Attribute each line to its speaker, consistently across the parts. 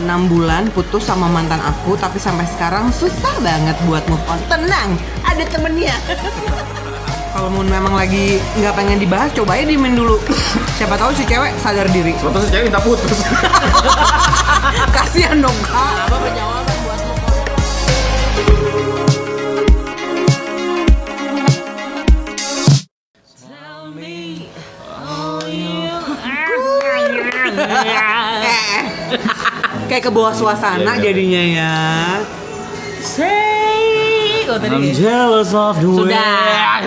Speaker 1: enam bulan putus sama mantan aku tapi sampai sekarang susah banget buat move on tenang ada temennya kalau mau memang lagi nggak pengen dibahas coba aja diemin dulu siapa tahu si cewek sadar diri
Speaker 2: Terus cewek minta putus.
Speaker 1: kasihan dong kak Eh, kayak ke bawah suasana
Speaker 2: Iya, iya.
Speaker 1: jadinya ya
Speaker 3: Say, oh
Speaker 2: I'm
Speaker 3: tadi
Speaker 2: jealous of the way.
Speaker 3: Sudah.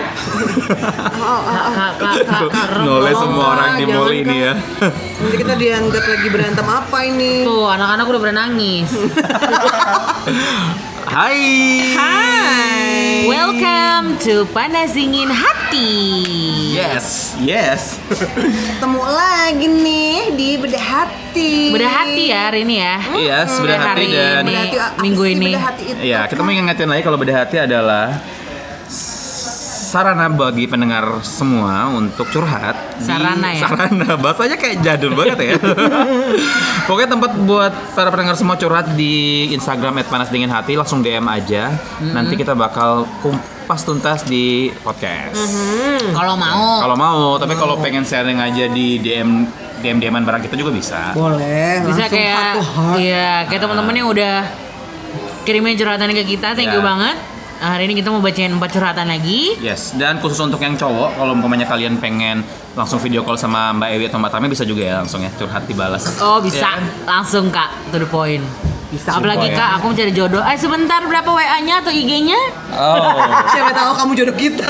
Speaker 3: kak kak kak kak
Speaker 2: Gitu.
Speaker 3: kak, Rob,
Speaker 2: Noleh
Speaker 3: tolong,
Speaker 2: semua
Speaker 3: Kak,
Speaker 2: orang di
Speaker 3: jangan,
Speaker 2: mall ini
Speaker 3: Kak.
Speaker 2: ya.
Speaker 1: nanti kita dianggap lagi berantem apa ini
Speaker 3: Tuh anak-anak udah pernah nangis.
Speaker 2: Hai.
Speaker 1: Hai
Speaker 3: Welcome to panas dingin hati.
Speaker 2: Yes, yes.
Speaker 1: ketemu lagi nih di bedah hati
Speaker 3: Bedah hati ya hari ini ya.
Speaker 2: Iya, sebenarnya
Speaker 3: Hari
Speaker 2: hati dan
Speaker 3: ini.
Speaker 1: Bedah hati, apa
Speaker 3: Minggu
Speaker 1: sih
Speaker 3: ini.
Speaker 1: bedah hati itu?
Speaker 2: Iya, kita mau ingetin lagi kalau bedah hati adalah s- sarana bagi pendengar semua untuk curhat. di-
Speaker 3: Sarana ya?
Speaker 2: Sarana, bahasanya kayak jadul banget ya. Pokoknya tempat buat para pendengar semua curhat di Instagram @panasdinginhati langsung DM aja. Nanti kita bakal kumpas tuntas di podcast.
Speaker 3: Mm-hmm. Kalau mau
Speaker 2: Kalau mau, tapi kalau pengen sharing aja di DM DM DM-an barang kita juga bisa.
Speaker 1: boleh
Speaker 3: bisa
Speaker 1: langsung
Speaker 3: kayak
Speaker 1: heart to heart.
Speaker 3: iya kayak teman-teman yang udah kirimin curhatan ke kita, thank you
Speaker 2: Ya.
Speaker 3: banget. Nah, Hari ini kita mau bacain empat curhatan lagi.
Speaker 2: Yes, dan khusus untuk yang cowok, kalau umpamanya kalian pengen langsung video call sama Mbak Ewi atau Mbak Tami bisa juga ya langsung ya curhat dibalas.
Speaker 3: Oh bisa,
Speaker 2: Iya kan? ya.
Speaker 3: langsung kak, to the point.
Speaker 1: Bisa.
Speaker 3: Apalagi
Speaker 2: point.
Speaker 3: kak, aku mencari jodoh. Eh sebentar, berapa WA-nya atau IG-nya?
Speaker 2: Oh.
Speaker 1: siapa tahu kamu jodoh kita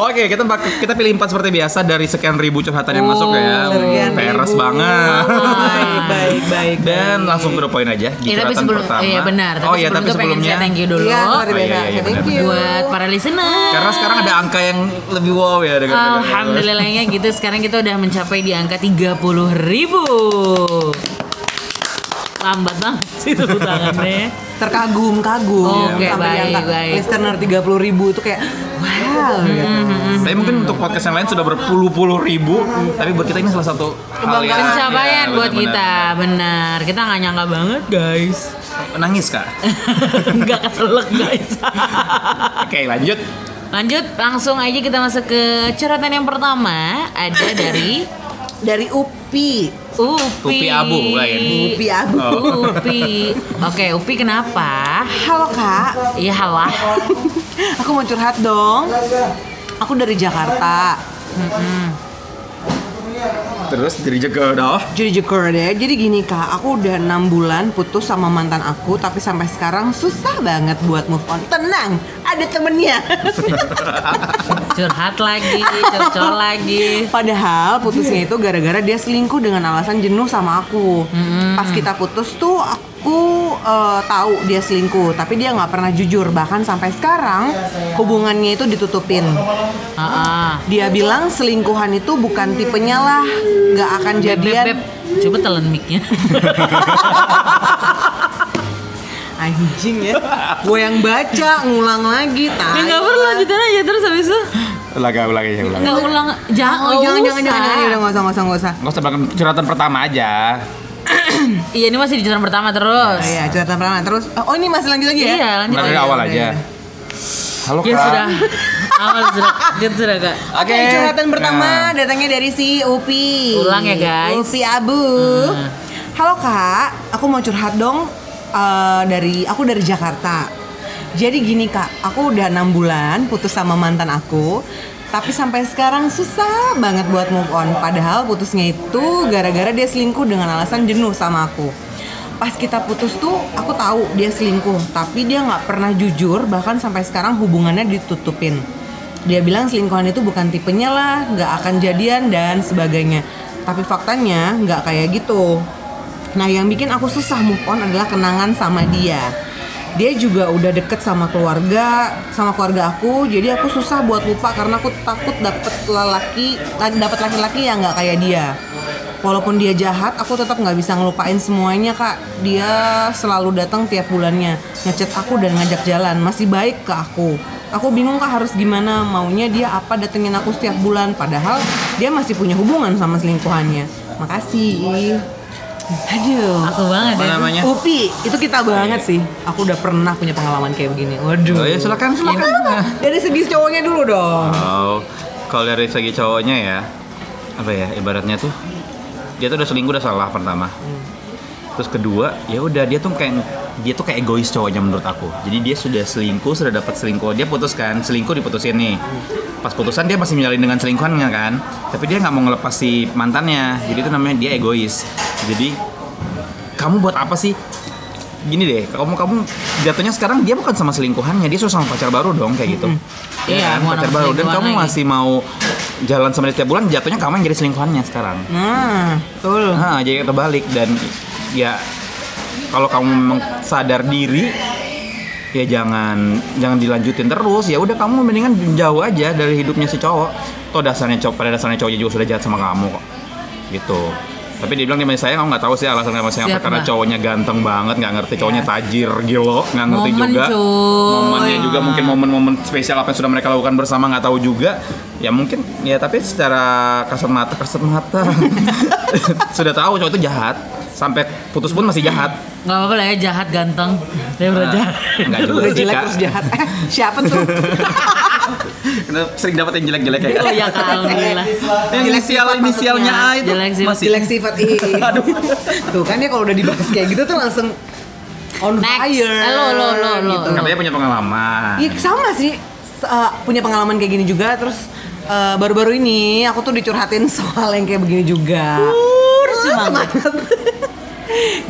Speaker 2: Oke, kita bak- kita pilih empat seperti biasa dari sekian ribu curhatan
Speaker 3: Oh,
Speaker 2: yang masuk ya.
Speaker 1: Sekian
Speaker 2: Peres
Speaker 1: ribu.
Speaker 2: banget.
Speaker 1: Oh, baik baik baik
Speaker 2: Dan langsung ke the point aja di
Speaker 3: Iya tapi
Speaker 2: curhatan
Speaker 3: sebelum,
Speaker 2: pertama.
Speaker 3: iya benar. Tapi
Speaker 2: oh iya, tapi
Speaker 3: sebelum itu pengen gitu.
Speaker 2: sebelumnya
Speaker 3: saya thank you dulu
Speaker 1: dulu iya luar
Speaker 2: Oh, iya,
Speaker 1: biasa.
Speaker 2: iya, iya,
Speaker 1: thank
Speaker 2: benar.
Speaker 1: you
Speaker 3: buat para listener.
Speaker 2: karena sekarang ada angka yang lebih wow ya dengan
Speaker 3: Alhamdulillahnya gitu sekarang kita udah mencapai di angka 30 ribu Lambat banget sih tepuk tangannya
Speaker 2: Iya,
Speaker 1: terkagum-kagum
Speaker 3: Oke,
Speaker 1: sampai
Speaker 3: baik,
Speaker 1: diangkat
Speaker 3: baik.
Speaker 1: listener 30 ribu itu kayak wow gitu.
Speaker 3: Hmm.
Speaker 2: Tapi mungkin untuk podcast yang lain sudah berpuluh-puluh ribu, tapi buat kita ini salah satu hal yang
Speaker 3: Pencapaian
Speaker 2: Iya,
Speaker 3: buat
Speaker 2: benar-benar.
Speaker 3: kita Benar Kita nggak nyangka banget guys
Speaker 2: Nangis kak.
Speaker 3: Nggak keselak guys
Speaker 2: Oke lanjut.
Speaker 3: Lanjut langsung aja kita masuk ke curhatan yang pertama Ada dari
Speaker 1: dari Upi
Speaker 3: Upi
Speaker 2: Upi Abu, lain.
Speaker 1: Upi Abu
Speaker 2: Oh.
Speaker 3: Upi Oke Upi kenapa?
Speaker 1: halo kak
Speaker 3: Iya halah
Speaker 1: aku mau curhat dong aku dari Jakarta
Speaker 2: Terus diri jaga dah.
Speaker 1: jadi Jakarta ya jadi gini kak aku udah enam bulan putus sama mantan aku tapi sampai sekarang susah banget buat move on tenang ada temennya
Speaker 3: curhat lagi, curcol lagi.
Speaker 1: Padahal putusnya itu gara-gara dia selingkuh dengan alasan jenuh sama aku. Pas kita putus tuh aku eh, tahu dia selingkuh, tapi dia nggak pernah jujur. Bahkan sampai sekarang hubungannya itu ditutupin.
Speaker 3: Ah,
Speaker 1: Dia bilang selingkuhan itu bukan tipenya lah, nggak akan
Speaker 3: beb, beb, beb.
Speaker 1: jadian.
Speaker 3: Coba telan mic-nya.
Speaker 1: Anjing ya, gue yang baca ngulang lagi. tai.
Speaker 3: Enggak Ya, perlu lanjutin aja terus habis itu.
Speaker 2: Ulang ulang aja ulang.
Speaker 3: Enggak ulang. Jangan,
Speaker 1: Oh, jangan, jangan, jangan, jangan, jangan, nggak usah, nggak usah, nggak usah.
Speaker 2: Nggak usah bahkan curhatan pertama aja.
Speaker 3: Iya, ini masih di curhatan pertama terus.
Speaker 1: Oh, iya, cerita pertama. Terus, oh ini masih lanjut lagi ya?
Speaker 3: Iya, lanjut.
Speaker 2: Ulang dari
Speaker 3: aja.
Speaker 2: awal aja. Halo
Speaker 1: iya.
Speaker 3: Ya
Speaker 2: kak.
Speaker 3: sudah. Awal sudah. Gitu sudah, Kak.
Speaker 1: Oke,
Speaker 2: Oke.
Speaker 1: curhatan pertama
Speaker 2: Nah.
Speaker 1: datangnya dari si Upi.
Speaker 3: Ulang ya, guys.
Speaker 1: Upi Abu.
Speaker 3: Hmm.
Speaker 1: Halo Kak, aku mau curhat dong eh, dari aku dari Jakarta. Jadi gini Kak, aku udah enam bulan putus sama mantan aku. Tapi sampai sekarang susah banget buat move on. Padahal putusnya itu gara-gara dia selingkuh dengan alasan jenuh sama aku pas kita putus tuh aku tahu dia selingkuh tapi dia nggak pernah jujur bahkan sampai sekarang hubungannya ditutupin dia bilang selingkuhan itu bukan tipenya lah nggak akan jadian dan sebagainya tapi faktanya nggak kayak gitu nah yang bikin aku susah move on adalah kenangan sama dia dia juga udah deket sama keluarga sama keluarga aku jadi aku susah buat lupa karena aku takut dapet lelaki eh, dapet laki-laki yang nggak kayak dia Walaupun dia jahat, aku tetap nggak bisa ngelupain semuanya kak. Dia selalu datang tiap bulannya, ngechat aku dan ngajak jalan. Masih baik ke aku. Aku bingung kak harus gimana. Maunya dia apa datengin aku setiap bulan, padahal dia masih punya hubungan sama selingkuhannya. Makasih. Aduh.
Speaker 3: Aku banget
Speaker 2: Apa
Speaker 3: ya.
Speaker 2: namanya?
Speaker 1: Upi, itu kita banget sih. Aku udah pernah punya pengalaman kayak begini. Waduh.
Speaker 2: Oh, ya silakan silakan.
Speaker 1: Dari segi cowoknya dulu dong.
Speaker 2: Oh, kalau dari segi cowoknya ya, apa ya ibaratnya tuh dia tuh udah selingkuh udah salah pertama. Terus kedua, ya udah dia tuh kayak dia tuh kayak egois cowoknya menurut aku. Jadi dia sudah selingkuh, sudah dapat selingkuh, dia putuskan selingkuh diputusin nih. Pas putusan dia masih menjalin dengan selingkuhannya kan, tapi dia nggak mau ngelepas si mantannya. Jadi itu namanya dia egois. Jadi kamu buat apa sih? Gini deh, kamu kamu jatuhnya sekarang dia bukan sama selingkuhannya, dia sudah sama pacar baru dong kayak gitu. Ya
Speaker 3: Iya,
Speaker 2: kan?
Speaker 3: mau
Speaker 2: pacar baru
Speaker 3: sama
Speaker 2: dan
Speaker 3: selingkuhan
Speaker 2: kamu
Speaker 3: lagi.
Speaker 2: masih mau jalan sama dia setiap bulan, jatuhnya kamu yang jadi selingkuhannya sekarang.
Speaker 1: Nah, betul.
Speaker 2: Nah, jadi terbalik dan ya kalau kamu memang sadar diri ya jangan jangan dilanjutin terus ya udah kamu mendingan jauh aja dari hidupnya si cowok toh dasarnya cowok pada dasarnya cowoknya juga sudah jahat sama kamu kok gitu tapi dia bilang dia masih sayang kamu nggak tahu sih alasan kenapa sayang apa
Speaker 3: Siap,
Speaker 2: karena
Speaker 3: Mbak. Iya.
Speaker 2: cowoknya ganteng banget nggak ngerti cowoknya tajir gilo nggak ngerti
Speaker 3: Momen,
Speaker 2: juga
Speaker 3: cuy.
Speaker 2: momennya juga mungkin momen-momen spesial apa yang sudah mereka lakukan bersama nggak tahu juga ya mungkin ya tapi secara kasat mata kasat mata sudah tahu cowok itu jahat sampai putus pun masih jahat
Speaker 3: Gak apa-apa lah ya jahat ganteng. Dia
Speaker 2: Nah,
Speaker 3: udah jahat.
Speaker 2: nggak juga
Speaker 1: Udah
Speaker 2: sih
Speaker 1: jelek
Speaker 2: kak
Speaker 1: terus jahat. Eh, Siapa tuh?
Speaker 2: Karena sering dapat yang jelek-jelek ya kak
Speaker 3: Oh ya kalau gila.
Speaker 2: yang
Speaker 1: iya. Jelek
Speaker 2: inisial
Speaker 1: sifat
Speaker 2: inisialnya A
Speaker 1: maksudnya.
Speaker 2: itu
Speaker 3: Jelek sifat.
Speaker 2: masih
Speaker 1: Jelek sifat ih.
Speaker 2: Aduh.
Speaker 1: Tuh kan ya kalau udah dibahas kayak gitu tuh langsung on
Speaker 3: Next.
Speaker 1: fire.
Speaker 3: Eh, lo, lo, lo, lo.
Speaker 1: gitu.
Speaker 2: katanya punya pengalaman
Speaker 1: Iya sama sih S- eh, punya pengalaman kayak gini juga terus eh, baru-baru ini aku tuh dicurhatin soal yang kayak begini juga. Ah,
Speaker 3: semangat.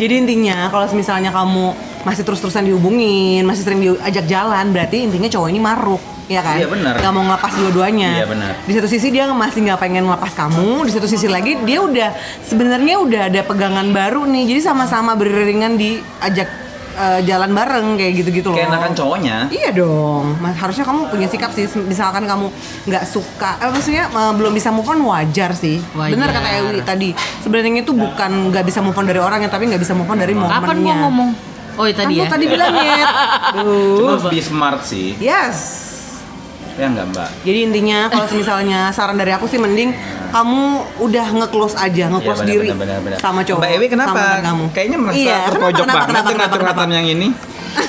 Speaker 1: Jadi intinya kalau misalnya kamu masih terus-terusan dihubungin, masih sering diajak jalan, berarti intinya cowok ini maruk, ya kan?
Speaker 2: Iya, benar.
Speaker 1: Gak mau ngelepas dua-duanya.
Speaker 2: Iya, benar.
Speaker 1: Di satu sisi dia masih nggak pengen ngelepas kamu, di satu sisi lagi dia udah sebenarnya udah ada pegangan baru nih. Jadi sama-sama beriringan diajak eh, jalan bareng kayak gitu-gitu loh.
Speaker 2: keenakan cowoknya
Speaker 1: Iya dong, Mas, harusnya kamu punya sikap sih. Misalkan kamu nggak suka, eh, maksudnya eh, belum bisa move on wajar sih.
Speaker 3: Wajar.
Speaker 1: Bener kata Ewi tadi. Sebenarnya itu bukan nggak bisa move on dari orangnya, tapi nggak bisa move on dari momennya.
Speaker 3: Kapan gua ngomong? Oh iya
Speaker 1: Kan
Speaker 3: tadi
Speaker 1: lu
Speaker 3: ya.
Speaker 1: tadi bilang ya.
Speaker 2: cuma harus be smart sih
Speaker 1: Yes.
Speaker 2: ya nggak mbak
Speaker 1: Jadi intinya kalau misalnya saran dari aku sih mending kamu udah nge-close aja,
Speaker 2: Iya,
Speaker 1: nge-close
Speaker 2: benar,
Speaker 1: diri
Speaker 2: benar, benar, benar.
Speaker 1: sama cowok.
Speaker 2: Mbak Ewi kenapa?
Speaker 1: sama mantan kamu.
Speaker 2: Kayaknya merasa
Speaker 1: iya, kenapa,
Speaker 2: terpojok
Speaker 1: kenapa,
Speaker 2: banget
Speaker 1: kenapa,
Speaker 2: dengan
Speaker 1: kenapa,
Speaker 2: curhatan
Speaker 1: kenapa?
Speaker 2: yang ini.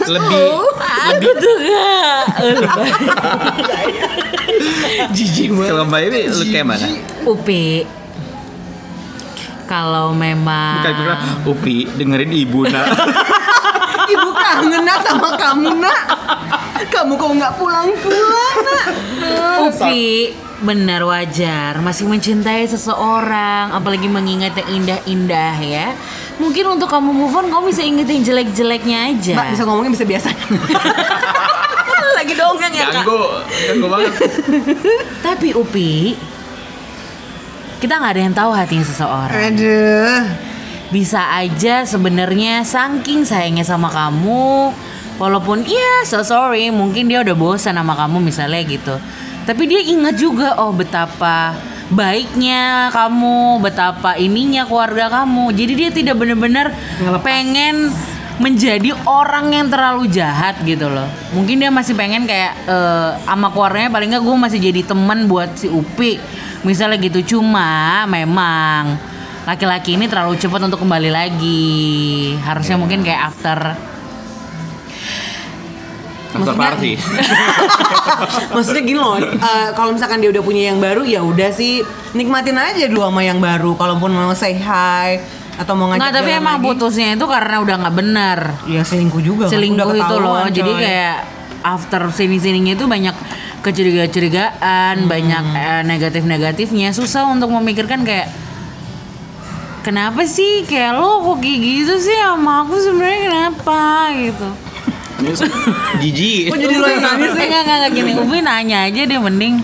Speaker 2: Lebih
Speaker 3: Aku tuh gak.
Speaker 1: Jijik banget.
Speaker 2: kalau Mbak Ewi lu kayak mana?
Speaker 3: Upi. Kalau memang.
Speaker 2: Bukan kira
Speaker 1: Ah.
Speaker 2: Upi dengerin ibu nak.
Speaker 1: Ibu kangen Nak, sama kamu nak. Kamu kok nggak pulang-pulang nak.
Speaker 3: Upi benar wajar masih mencintai seseorang apalagi mengingat yang indah-indah ya mungkin untuk kamu move on kamu bisa inget yang jelek-jeleknya aja
Speaker 1: Mbak bisa ngomongnya bisa biasa.
Speaker 3: lagi dongeng ya kak
Speaker 2: Ganggu, ganggu banget.
Speaker 3: tapi Upi kita nggak ada yang tahu hatinya seseorang
Speaker 1: Aduh.
Speaker 3: bisa aja sebenarnya saking sayangnya sama kamu walaupun iya so sorry mungkin dia udah bosan sama kamu misalnya gitu tapi dia ingat juga oh betapa baiknya kamu betapa ininya keluarga kamu jadi dia tidak benar-benar
Speaker 1: Ngelepas.
Speaker 3: pengen menjadi orang yang terlalu jahat gitu loh mungkin dia masih pengen kayak eh, sama keluarganya paling nggak gue masih jadi teman buat si Upi misalnya gitu cuma memang laki-laki ini terlalu cepat untuk kembali lagi
Speaker 2: Iya.
Speaker 3: harusnya mungkin kayak after
Speaker 2: After party.
Speaker 1: Maksudnya gini loh, eh, kalau misalkan dia udah punya yang baru ya udah sih nikmatin aja dulu sama yang baru. Kalaupun mau say hi atau mau ngajak
Speaker 3: nggak Nah, tapi
Speaker 1: jalan
Speaker 3: emang
Speaker 1: lagi.
Speaker 3: putusnya itu karena udah nggak benar
Speaker 1: Ya selingkuh juga. kan,
Speaker 3: selingkuh
Speaker 1: udah
Speaker 3: itu
Speaker 1: ketahuan,
Speaker 3: loh jadi
Speaker 1: coy.
Speaker 3: kayak after sini sininya itu banyak
Speaker 1: Hmm.
Speaker 3: kecurigaan banyak negatif negatifnya susah untuk memikirkan kayak kenapa sih kayak lo kok kayak gitu sih sama aku sebenarnya kenapa gitu
Speaker 2: Jiji.
Speaker 1: Kok jadi lo yang nangis sih?
Speaker 3: enggak enggak enggak gini Ubi nanya aja deh mending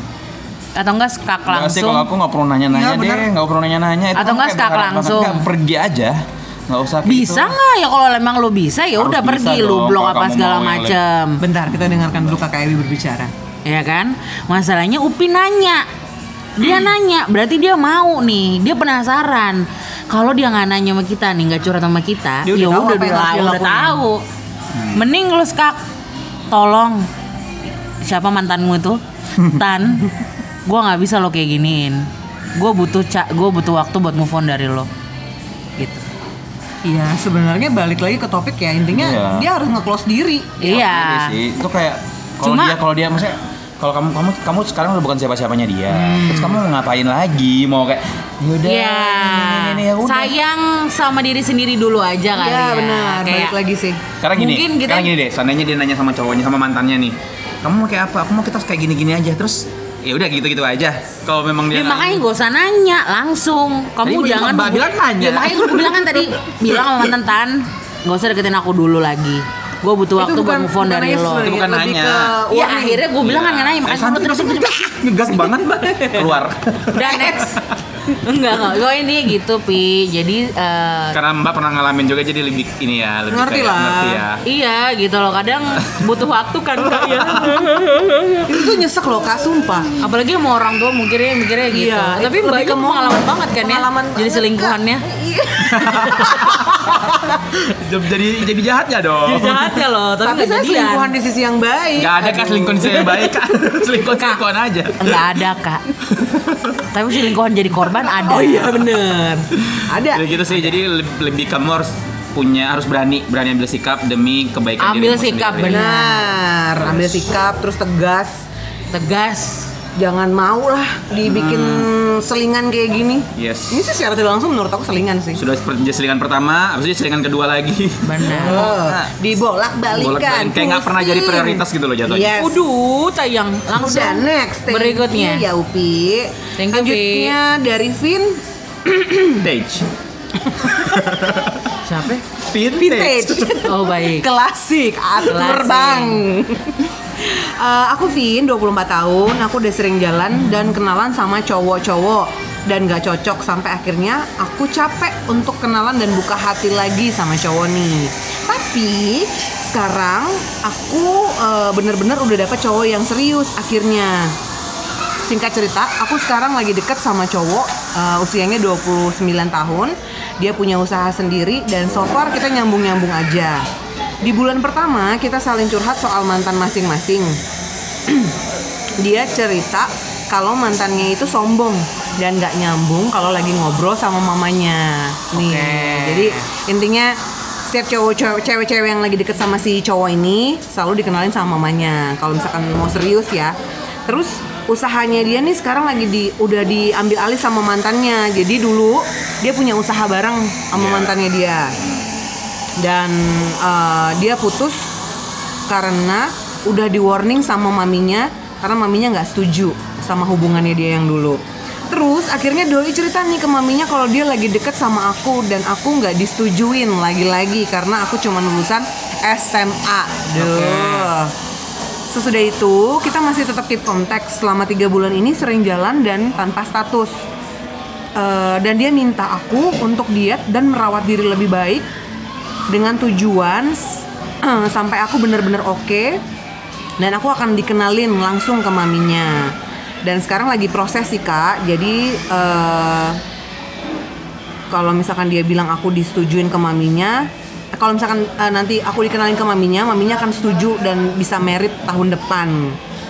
Speaker 3: atau enggak skak
Speaker 2: Nggak sih,
Speaker 3: langsung
Speaker 2: kalau aku nggak perlu nanya-nanya
Speaker 1: Iya, bener.
Speaker 2: deh, nggak perlu nanya-nanya. Itu kan
Speaker 3: Atau nggak
Speaker 2: kayak
Speaker 3: skak
Speaker 2: berharap banget.
Speaker 3: langsung.
Speaker 2: Nggak, pergi aja, nggak usah. kayak
Speaker 3: bisa
Speaker 2: gitu.
Speaker 3: nggak ya kalau emang lo bisa ya
Speaker 2: Harus
Speaker 3: udah
Speaker 2: bisa
Speaker 3: pergi
Speaker 2: dong,
Speaker 3: lo blok
Speaker 2: kalau
Speaker 3: apa
Speaker 2: kamu
Speaker 3: segala
Speaker 2: mau ya, yang lebih-
Speaker 3: macem
Speaker 1: Bentar kita dengarkan dulu Kakak Ewi berbicara.
Speaker 3: ya kan masalahnya Upi nanya dia
Speaker 2: Hmm.
Speaker 3: nanya berarti dia mau nih dia penasaran kalau dia nggak nanya sama kita nih nggak curhat sama kita
Speaker 1: Dia udah
Speaker 3: ya
Speaker 1: tahu
Speaker 3: udah
Speaker 1: apa yang
Speaker 3: udah
Speaker 1: harus dia
Speaker 3: udah
Speaker 1: lakuin.
Speaker 3: tahu
Speaker 2: Hmm.
Speaker 3: mending lu skak tolong siapa mantanmu itu tan gua nggak bisa lo kayak giniin gue butuh cak gue butuh waktu buat move on dari lo gitu
Speaker 1: Iya, sebenarnya balik lagi ke topik ya intinya
Speaker 2: Iya.
Speaker 1: dia harus nge-close diri.
Speaker 2: Iya
Speaker 3: Iya.
Speaker 2: sih. Itu kayak kalau
Speaker 3: Cuma-
Speaker 2: dia kalau dia maksudnya kalau kamu kamu kamu sekarang udah bukan siapa-siapanya dia. Terus kamu mau ngapain lagi? Mau kayak ya udah.
Speaker 3: Hmm. Iya.
Speaker 2: ini, ini, ini, ya udah."
Speaker 3: Sayang sama diri sendiri dulu aja kali ya.
Speaker 1: Iya benar,
Speaker 3: Kayak-
Speaker 1: balik lagi sih.
Speaker 2: Sekarang gini,
Speaker 3: Mungkin gitu ya. kita-
Speaker 2: sekarang gini deh. Seandainya dia nanya sama cowoknya sama mantannya nih. Kamu mau kayak apa? Aku mau kita harus kayak gini-gini aja. Terus ya udah gitu-gitu aja. Kalau memang
Speaker 3: Ya,
Speaker 2: dia
Speaker 3: makanya gak usah nanya langsung. Kamu
Speaker 2: Tadi
Speaker 3: jangan
Speaker 2: Mbak bilang nanya.
Speaker 3: Ya, makanya gue bilang kan tadi bilang sama mantan tan, gak usah deketin aku dulu lagi. Gue butuh waktu buat move on dari
Speaker 1: nanya
Speaker 3: lo.
Speaker 1: sebenarnya,
Speaker 2: Itu bukan
Speaker 1: lebih
Speaker 2: nanya.
Speaker 1: ke
Speaker 3: Ya
Speaker 1: warning.
Speaker 3: akhirnya gue bilang
Speaker 2: Iya.
Speaker 3: kan nanya makanya gue terus
Speaker 2: Eh, ngegas banget keluar.
Speaker 3: udah next. Enggak enggak. Gue ini gitu pi. Jadi eh,
Speaker 2: Karena Mbak pernah ngalamin juga jadi lebih ini ya, lebih
Speaker 1: Ngerti
Speaker 2: kayak
Speaker 1: lah.
Speaker 2: ngerti ya.
Speaker 3: iya gitu loh kadang butuh waktu kan Kak, ya.
Speaker 1: itu tuh nyesek loh kak sumpah.
Speaker 3: Apalagi sama orang tua mikirnya mikirnya gitu.
Speaker 1: Iya,
Speaker 3: Tapi
Speaker 1: itu
Speaker 3: Mbak
Speaker 1: lebih
Speaker 3: Ika
Speaker 1: ke mau-
Speaker 3: pengalaman banget kan ya.
Speaker 1: pengalaman
Speaker 3: Jadi
Speaker 1: banget,
Speaker 3: selingkuhannya.
Speaker 2: Jadi jadi jahatnya dong.
Speaker 3: Jadi jahatnya loh, tapi,
Speaker 1: Tapi,
Speaker 3: nggak
Speaker 1: saya
Speaker 3: jadian.
Speaker 1: selingkuhan di sisi yang baik.
Speaker 2: Gak ada kan
Speaker 1: Aduh.
Speaker 2: selingkuh saya baik kan selingkuh selingkuhan aja.
Speaker 3: Enggak ada kak Tapi selingkuhan jadi korban ada
Speaker 1: Oh iya bener. Ada.
Speaker 2: Jadi gitu sih. Jadi leb- lebih kamu harus punya harus berani berani ambil sikap demi kebaikan
Speaker 3: Ambil
Speaker 2: dirimu
Speaker 3: sikap,
Speaker 2: sendiri.
Speaker 3: bener.
Speaker 1: Benar. Ambil sikap terus tegas.
Speaker 3: Tegas
Speaker 1: Jangan mau lah dibikin selingan kayak gini.
Speaker 2: Hmm. Yes.
Speaker 1: Ini sih secara tidak langsung menurut aku selingan sih.
Speaker 2: Sudah seperti jadi selingan pertama, habis itu selingan kedua lagi.
Speaker 3: Benar
Speaker 1: Oh, dibolak
Speaker 2: Bolak-balik.
Speaker 1: balikan.
Speaker 2: Kayak nggak pernah jadi prioritas gitu loh jatuhnya.
Speaker 1: Yes.
Speaker 3: Uduh tayang Langsung
Speaker 1: Udah next. Thank
Speaker 3: Berikutnya
Speaker 1: you Ya Upi.
Speaker 3: Thank you, Pi.
Speaker 1: Selanjutnya dari Vin.
Speaker 2: Vintage.
Speaker 3: Siapa ya?
Speaker 1: Vintage.
Speaker 3: Oh baik
Speaker 1: Klasik, atur
Speaker 3: Klasik.
Speaker 1: bang. Eh, aku Vin, 24 tahun. Aku udah sering jalan dan kenalan sama cowok-cowok dan gak cocok sampai akhirnya aku capek untuk kenalan dan buka hati lagi sama cowok nih. Tapi sekarang aku eh, bener-bener udah dapet cowok yang serius akhirnya. Singkat cerita, aku sekarang lagi deket sama cowok eh, usianya 29 tahun. Dia punya usaha sendiri dan so far kita nyambung-nyambung aja. Di bulan pertama kita saling curhat soal mantan masing-masing. Dia cerita kalau mantannya itu sombong dan nggak nyambung kalau lagi ngobrol sama mamanya. Nih,
Speaker 3: Oke.
Speaker 1: jadi intinya setiap cowok cowok- cewek-cewek yang lagi deket sama si cowok ini selalu dikenalin sama mamanya kalau misalkan mau serius ya terus usahanya dia nih sekarang lagi di udah diambil alih sama mantannya jadi dulu dia punya usaha bareng sama mantannya dia dan eh, dia putus karena udah di warning sama maminya karena maminya nggak setuju sama hubungannya dia yang dulu terus akhirnya Doi cerita nih ke maminya kalau dia lagi deket sama aku dan aku nggak disetujuin lagi-lagi karena aku cuma lulusan SMA Duh. Sesudah itu, kita masih tetap keep kontak selama tiga bulan ini sering jalan dan tanpa status. Eh, dan dia minta aku untuk diet dan merawat diri lebih baik dengan tujuan s- eh, sampai aku bener-bener oke dan aku akan dikenalin langsung ke maminya. Dan sekarang lagi proses sih kak, jadi eh, kalau misalkan dia bilang aku disetujuin ke maminya eh, kalau misalkan eh, nanti aku dikenalin ke maminya maminya akan setuju dan bisa merit tahun depan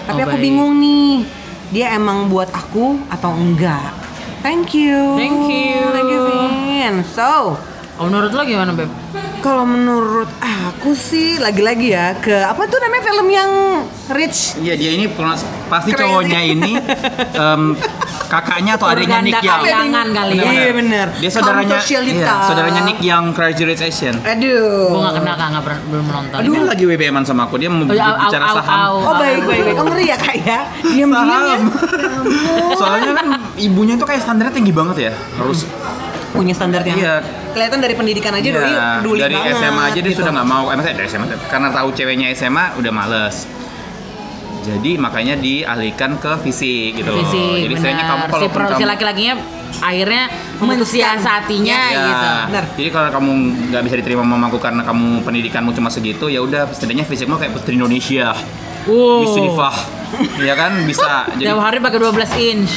Speaker 1: tapi
Speaker 3: Oh,
Speaker 1: aku
Speaker 3: baik.
Speaker 1: bingung nih dia emang buat aku atau enggak thank you
Speaker 3: Thank you.
Speaker 1: thank you Vin so
Speaker 3: Kalau Oh, menurut lo gimana Beb?
Speaker 1: kalau menurut aku sih lagi-lagi ya ke apa tuh namanya film yang rich
Speaker 2: Iya dia ini pernah- pasti
Speaker 1: Crazy.
Speaker 2: cowoknya ini em, kakaknya atau adiknya Nick
Speaker 3: Organda
Speaker 2: Young.
Speaker 3: kayangan kali ya
Speaker 1: Iya, bener.
Speaker 2: Dia saudaranya,
Speaker 1: Kaum sosialita.
Speaker 2: iya, saudaranya Nick Young, Crazy Rich Asian.
Speaker 1: aduh
Speaker 3: Gue gak kenal kak, nggak pernah- belum nonton
Speaker 2: Aduh, lagi WBM-an sama aku. Dia mau
Speaker 3: Oh, au,
Speaker 2: bicara
Speaker 3: au, au,
Speaker 2: saham.
Speaker 3: au.
Speaker 1: oh baik baik baik oh ngeri ya kak ya diam-diam ya
Speaker 2: Saham. Soalnya kan ibunya tuh kayak standarnya tinggi banget ya. Harus
Speaker 1: punya standar yang
Speaker 2: Iya.
Speaker 1: kelihatan dari pendidikan aja doi
Speaker 2: Iya,
Speaker 1: duli
Speaker 2: dari
Speaker 1: banget,
Speaker 2: SMA aja dia
Speaker 1: gitu.
Speaker 2: sudah nggak mau. Eh, maksudnya dari SMA karena tahu ceweknya SMA udah males. Jadi makanya dialihkan ke fisik gitu. loh.
Speaker 3: Visi,
Speaker 2: Jadi istilahnya kamu
Speaker 3: benar.
Speaker 2: kalau
Speaker 3: Si, pro- si laki-lakinya akhirnya
Speaker 1: Memutuskan.
Speaker 3: mensiasatinya
Speaker 2: Ya,
Speaker 3: gitu
Speaker 1: Bener.
Speaker 2: Jadi kalau kamu nggak bisa diterima mamaku karena kamu pendidikanmu cuma segitu, ya udah setidaknya fisikmu kayak putri Indonesia,
Speaker 3: Wow.
Speaker 2: Miss Unifah. Iya kan bisa. Jadi
Speaker 3: Tiap hari pakai 12 inch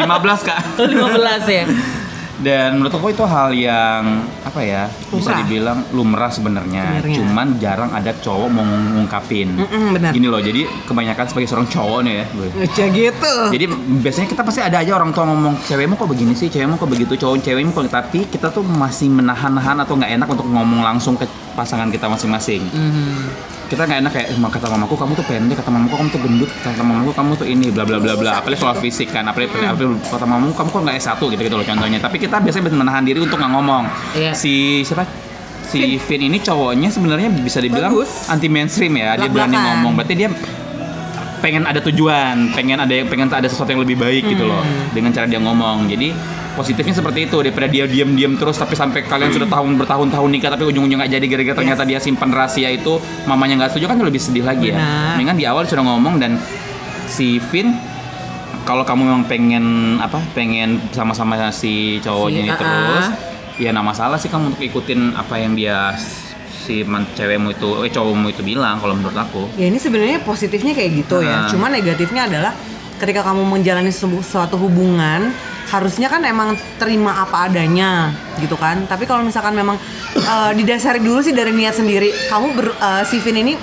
Speaker 2: 15 kak.
Speaker 3: 15 ya
Speaker 2: Dan menurut aku itu hal yang apa ya bisa
Speaker 1: Lumrah.
Speaker 2: dibilang lumrah sebenarnya.
Speaker 1: Sebenarnya.
Speaker 2: Cuman jarang ada cowok mau ngungkapin.
Speaker 1: Mm-mm, benar.
Speaker 2: Gini loh, jadi kebanyakan sebagai seorang cowok nih ya. gue.
Speaker 1: Ngecek gitu.
Speaker 2: Jadi biasanya kita pasti ada aja orang tua ngomong cewekmu kok begini sih, cewekmu kok begitu, cowok cewekmu kok tapi kita tuh masih menahan-nahan atau nggak enak untuk ngomong langsung ke pasangan kita masing-masing. Mhm. Kita nggak enak kayak "Ma, kata mamaku kamu tuh pendek, kata mamaku kamu tuh gendut, kata mamaku kamu tuh ini bla bla bla bla. Apalagi soal fisik kan, apalagi, apalagi kata mamamu kamu kok nggak S1 gitu gitu loh contohnya. Tapi kita biasanya menahan diri untuk nggak ngomong.
Speaker 3: Iya.
Speaker 2: Si siapa? Si Vin ini cowoknya sebenarnya bisa dibilang
Speaker 1: Bagus.
Speaker 2: anti mainstream ya, dia berani
Speaker 1: Belak-belakan.
Speaker 2: ngomong. Berarti dia pengen ada tujuan, pengen ada pengen ada sesuatu yang lebih baik gitu loh
Speaker 1: Hmm.
Speaker 2: dengan cara dia ngomong. Jadi positifnya seperti itu daripada dia diam-diam terus tapi sampai kalian sudah tahun bertahun-tahun nikah tapi ujung-ujungnya nggak jadi gara-gara ternyata dia simpan rahasia itu mamanya nggak setuju kan lebih sedih lagi ya.
Speaker 1: Benar.
Speaker 2: Mendingan di awal sudah ngomong dan si Vin kalau kamu memang pengen apa pengen sama-sama si cowoknya
Speaker 3: Si-
Speaker 2: ini
Speaker 3: ah-ah.
Speaker 2: terus ya nggak masalah sih kamu untuk ikutin apa yang dia si man, cewekmu itu eh cowokmu itu bilang kalau menurut aku
Speaker 1: Ya ini sebenarnya positifnya kayak gitu ya.
Speaker 2: Nah.
Speaker 1: Cuma negatifnya adalah ketika kamu menjalani sebu- suatu hubungan harusnya kan emang terima apa adanya gitu kan. Tapi kalau misalkan memang eh, didasari dulu sih dari niat sendiri, kamu ber, eh, si Vin ini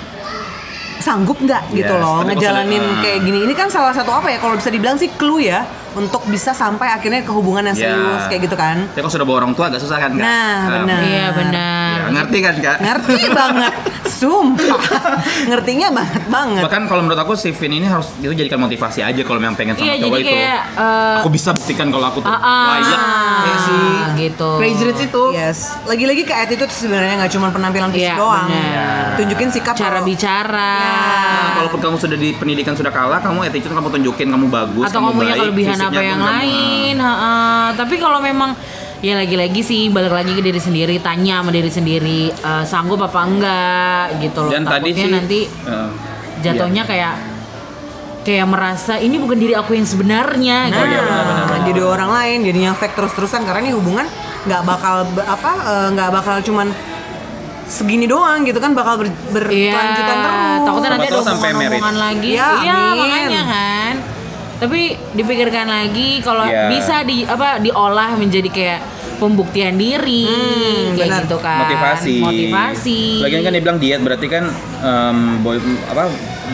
Speaker 1: sanggup nggak gitu
Speaker 2: Yes,
Speaker 1: loh
Speaker 2: tapi
Speaker 1: ngejalanin
Speaker 2: maksudnya, eh.
Speaker 1: kayak gini. Ini kan salah satu apa ya kalau bisa dibilang sih clue ya untuk bisa sampai akhirnya ke hubungan yang
Speaker 2: Ya.
Speaker 1: serius kayak gitu kan.
Speaker 2: Tapi kalau sudah bawa orang tua agak susah kan kak?
Speaker 1: Nah,
Speaker 2: Eh,
Speaker 1: benar.
Speaker 3: Iya benar.
Speaker 2: ya, ngerti kan kak?
Speaker 1: Ngerti banget, sumpah. Ngertinya banget banget.
Speaker 2: Bahkan kalau menurut aku si Vin ini harus itu jadikan motivasi aja kalau memang pengen sama
Speaker 3: Iya
Speaker 2: cowok
Speaker 3: jadi
Speaker 2: itu.
Speaker 3: kayak eh,
Speaker 2: Aku bisa buktikan kalau aku tuh
Speaker 3: Ah, ah.
Speaker 2: layak ya kayak si
Speaker 3: Gitu.
Speaker 2: Iya Crazy Rich itu.
Speaker 1: Yes, lagi-lagi ke attitude sebenarnya nggak cuma penampilan fisik
Speaker 3: Iya,
Speaker 1: doang.
Speaker 3: benar.
Speaker 1: Tunjukin sikap
Speaker 3: cara
Speaker 1: kalau-
Speaker 3: bicara
Speaker 2: Nah, Kalaupun kamu sudah di pendidikan sudah kalah, kamu attitude kamu tunjukin kamu bagus,
Speaker 3: atau kamu punya
Speaker 2: baik,
Speaker 3: kelebihan
Speaker 2: kan fisiknya
Speaker 3: apa yang
Speaker 2: kamu-
Speaker 3: lain. heeh. Tapi kalau memang ya lagi-lagi sih balik lagi ke diri sendiri, tanya sama diri sendiri eh, sanggup apa enggak gitu loh.
Speaker 2: Dan tadi
Speaker 3: Takutnya
Speaker 2: sih
Speaker 3: nanti
Speaker 2: eh,
Speaker 3: jatuhnya kayak kayak merasa ini bukan diri aku yang sebenarnya
Speaker 1: Nah,
Speaker 3: gitu.
Speaker 2: iya.
Speaker 1: jadi orang lain jadinya fake terus-terusan karena ini hubungan nggak bakal be- apa eh, nggak bakal cuman segini doang gitu kan bakal ber-
Speaker 3: Iya,
Speaker 1: berkelanjutan terus.
Speaker 3: takutnya nanti ada
Speaker 2: Sama-sama sampai
Speaker 3: omongan
Speaker 2: married.
Speaker 3: lagi.
Speaker 1: Iya,
Speaker 3: iya,
Speaker 1: amin.
Speaker 3: makanya kan. Tapi dipikirkan lagi kalau
Speaker 2: Iya.
Speaker 3: bisa di apa diolah menjadi kayak pembuktian diri kayak
Speaker 1: Hmm, benar.
Speaker 3: gitu kan.
Speaker 2: motivasi
Speaker 3: Motivasi.
Speaker 2: lagian kan dia bilang diet berarti kan em, boy- apa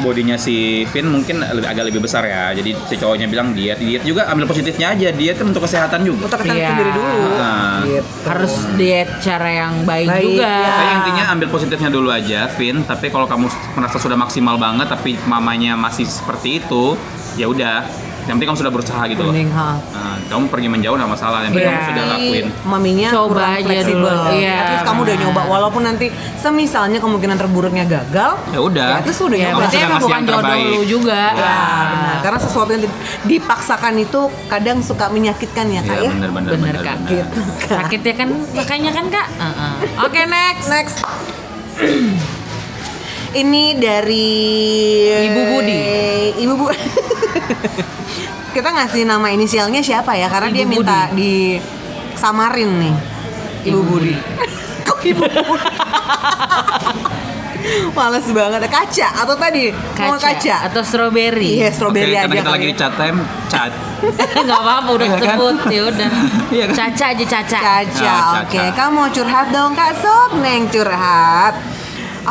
Speaker 2: bodinya si Vin mungkin lebih- agak lebih besar ya jadi si cowoknya bilang diet diet juga ambil positifnya aja diet kan untuk kesehatan juga
Speaker 1: Untuk
Speaker 3: Iya.
Speaker 1: kita diri dulu.
Speaker 2: Nah.
Speaker 1: Gitu.
Speaker 3: harus diet cara yang baik,
Speaker 1: Baik,
Speaker 3: juga. Iya,
Speaker 1: ya.
Speaker 2: Tapi intinya ambil positifnya dulu aja, Vin. Tapi kalau kamu merasa sudah maksimal banget, tapi mamanya masih seperti itu, ya udah. Yang penting kamu sudah berusaha gitu loh.
Speaker 1: Mending, ha.
Speaker 2: Nah, kamu pergi menjauh nggak masalah. Yang penting
Speaker 3: Iya.
Speaker 2: kamu sudah lakuin.
Speaker 1: maminya
Speaker 3: Coba
Speaker 1: kurang
Speaker 3: aja
Speaker 1: fleksibel.
Speaker 3: dulu. Iya,
Speaker 1: At least kamu udah
Speaker 3: benar.
Speaker 1: nyoba walaupun nanti semisalnya kemungkinan terburuknya gagal.
Speaker 2: Ya udah.
Speaker 1: Ya, terus udah
Speaker 3: Ya,
Speaker 1: nyoba.
Speaker 3: berarti
Speaker 2: Sudah
Speaker 3: emang
Speaker 2: ngasih
Speaker 3: bukan
Speaker 2: yang
Speaker 3: jodoh
Speaker 2: terbaik.
Speaker 3: lu juga. Ah,
Speaker 1: Ya, benar. Karena sesuatu yang di- dipaksakan itu kadang suka menyakitkan ya kak
Speaker 2: Iya
Speaker 1: ya.
Speaker 2: benar benar
Speaker 3: Bener,
Speaker 2: benar.
Speaker 3: Kak.
Speaker 2: benar.
Speaker 1: Gitu, Kak.
Speaker 3: Sakit ya kan makanya kan Kak. Heeh. Oke, next.
Speaker 1: Next. Ini dari
Speaker 3: Ibu Budi.
Speaker 1: Ibu Bu. Kita ngasih nama inisialnya siapa ya? Karena
Speaker 3: Ibu
Speaker 1: dia minta di samarin nih. Ibu,
Speaker 3: Ibu
Speaker 1: Budi.
Speaker 3: Budi.
Speaker 1: Kok Ibu Budi? Males banget. Kaca atau tadi mau kaca?
Speaker 3: atau strawberry.
Speaker 1: Iya, strawberry
Speaker 2: Oke,
Speaker 1: aja.
Speaker 2: Karena kita lagi
Speaker 1: kali.
Speaker 2: di chat time, chat.
Speaker 3: Enggak apa-apa udah
Speaker 2: Iya kan?
Speaker 3: kesebut ya udah.
Speaker 2: Iya kan?
Speaker 3: Caca aja caca.
Speaker 1: Caca,
Speaker 2: Ah, Caca.
Speaker 1: oke. Kamu mau curhat dong, Kak Sok? Neng curhat.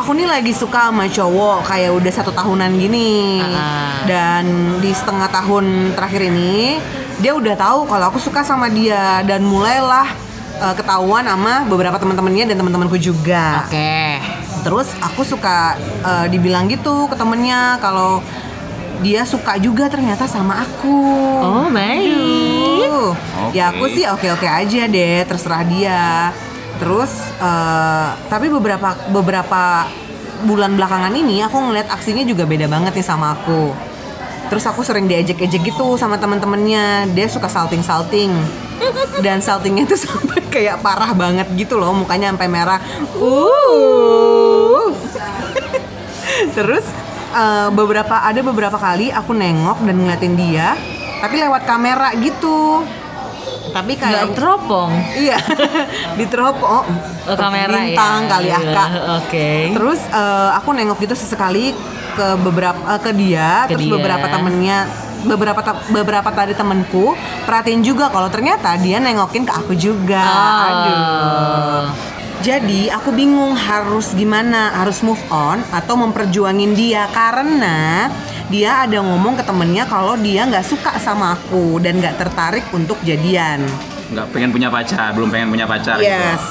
Speaker 1: Aku nih lagi suka sama cowok kayak udah satu tahunan gini.
Speaker 3: Ah.
Speaker 1: Dan di setengah tahun terakhir ini dia udah tahu kalau aku suka sama dia dan mulailah eh, ketahuan sama beberapa teman-temannya dan teman-temanku juga.
Speaker 3: Oke.
Speaker 1: Terus aku suka eh, dibilang gitu ke temennya kalau dia suka juga ternyata sama aku.
Speaker 3: Oh, baik.
Speaker 1: Aduh.
Speaker 2: Oke.
Speaker 1: Ya aku sih oke-oke aja deh, terserah dia. Terus eh, tapi beberapa beberapa bulan belakangan ini aku ngeliat aksinya juga beda banget nih sama aku. Terus aku sering diejek-ejek gitu sama temen-temennya. Dia suka salting-salting. Dan saltingnya tuh sampai kayak parah banget gitu loh, mukanya sampai merah. Uh. Terus eh, beberapa ada beberapa kali aku nengok dan ngeliatin dia, tapi lewat kamera gitu. Tapi kayak
Speaker 3: Enggak teropong
Speaker 1: iya diterop oh
Speaker 3: ke kamera
Speaker 1: bintang
Speaker 3: ya.
Speaker 1: kali ya
Speaker 3: Iya,
Speaker 1: kak.
Speaker 3: Oke.
Speaker 1: Terus eh, aku nengok gitu sesekali ke beberapa eh, ke dia,
Speaker 3: Ke
Speaker 1: terus
Speaker 3: dia.
Speaker 1: beberapa temennya beberapa ta- beberapa tadi temenku perhatiin juga kalau ternyata dia nengokin ke aku juga.
Speaker 3: Oh. Ah.
Speaker 1: Aduh. Jadi aku bingung harus gimana, harus move on atau memperjuangin dia karena dia ada ngomong ke temennya kalau dia nggak suka sama aku dan nggak tertarik untuk jadian.
Speaker 2: nggak pengen punya pacar belum pengen punya pacar
Speaker 1: Yes.
Speaker 2: gitu.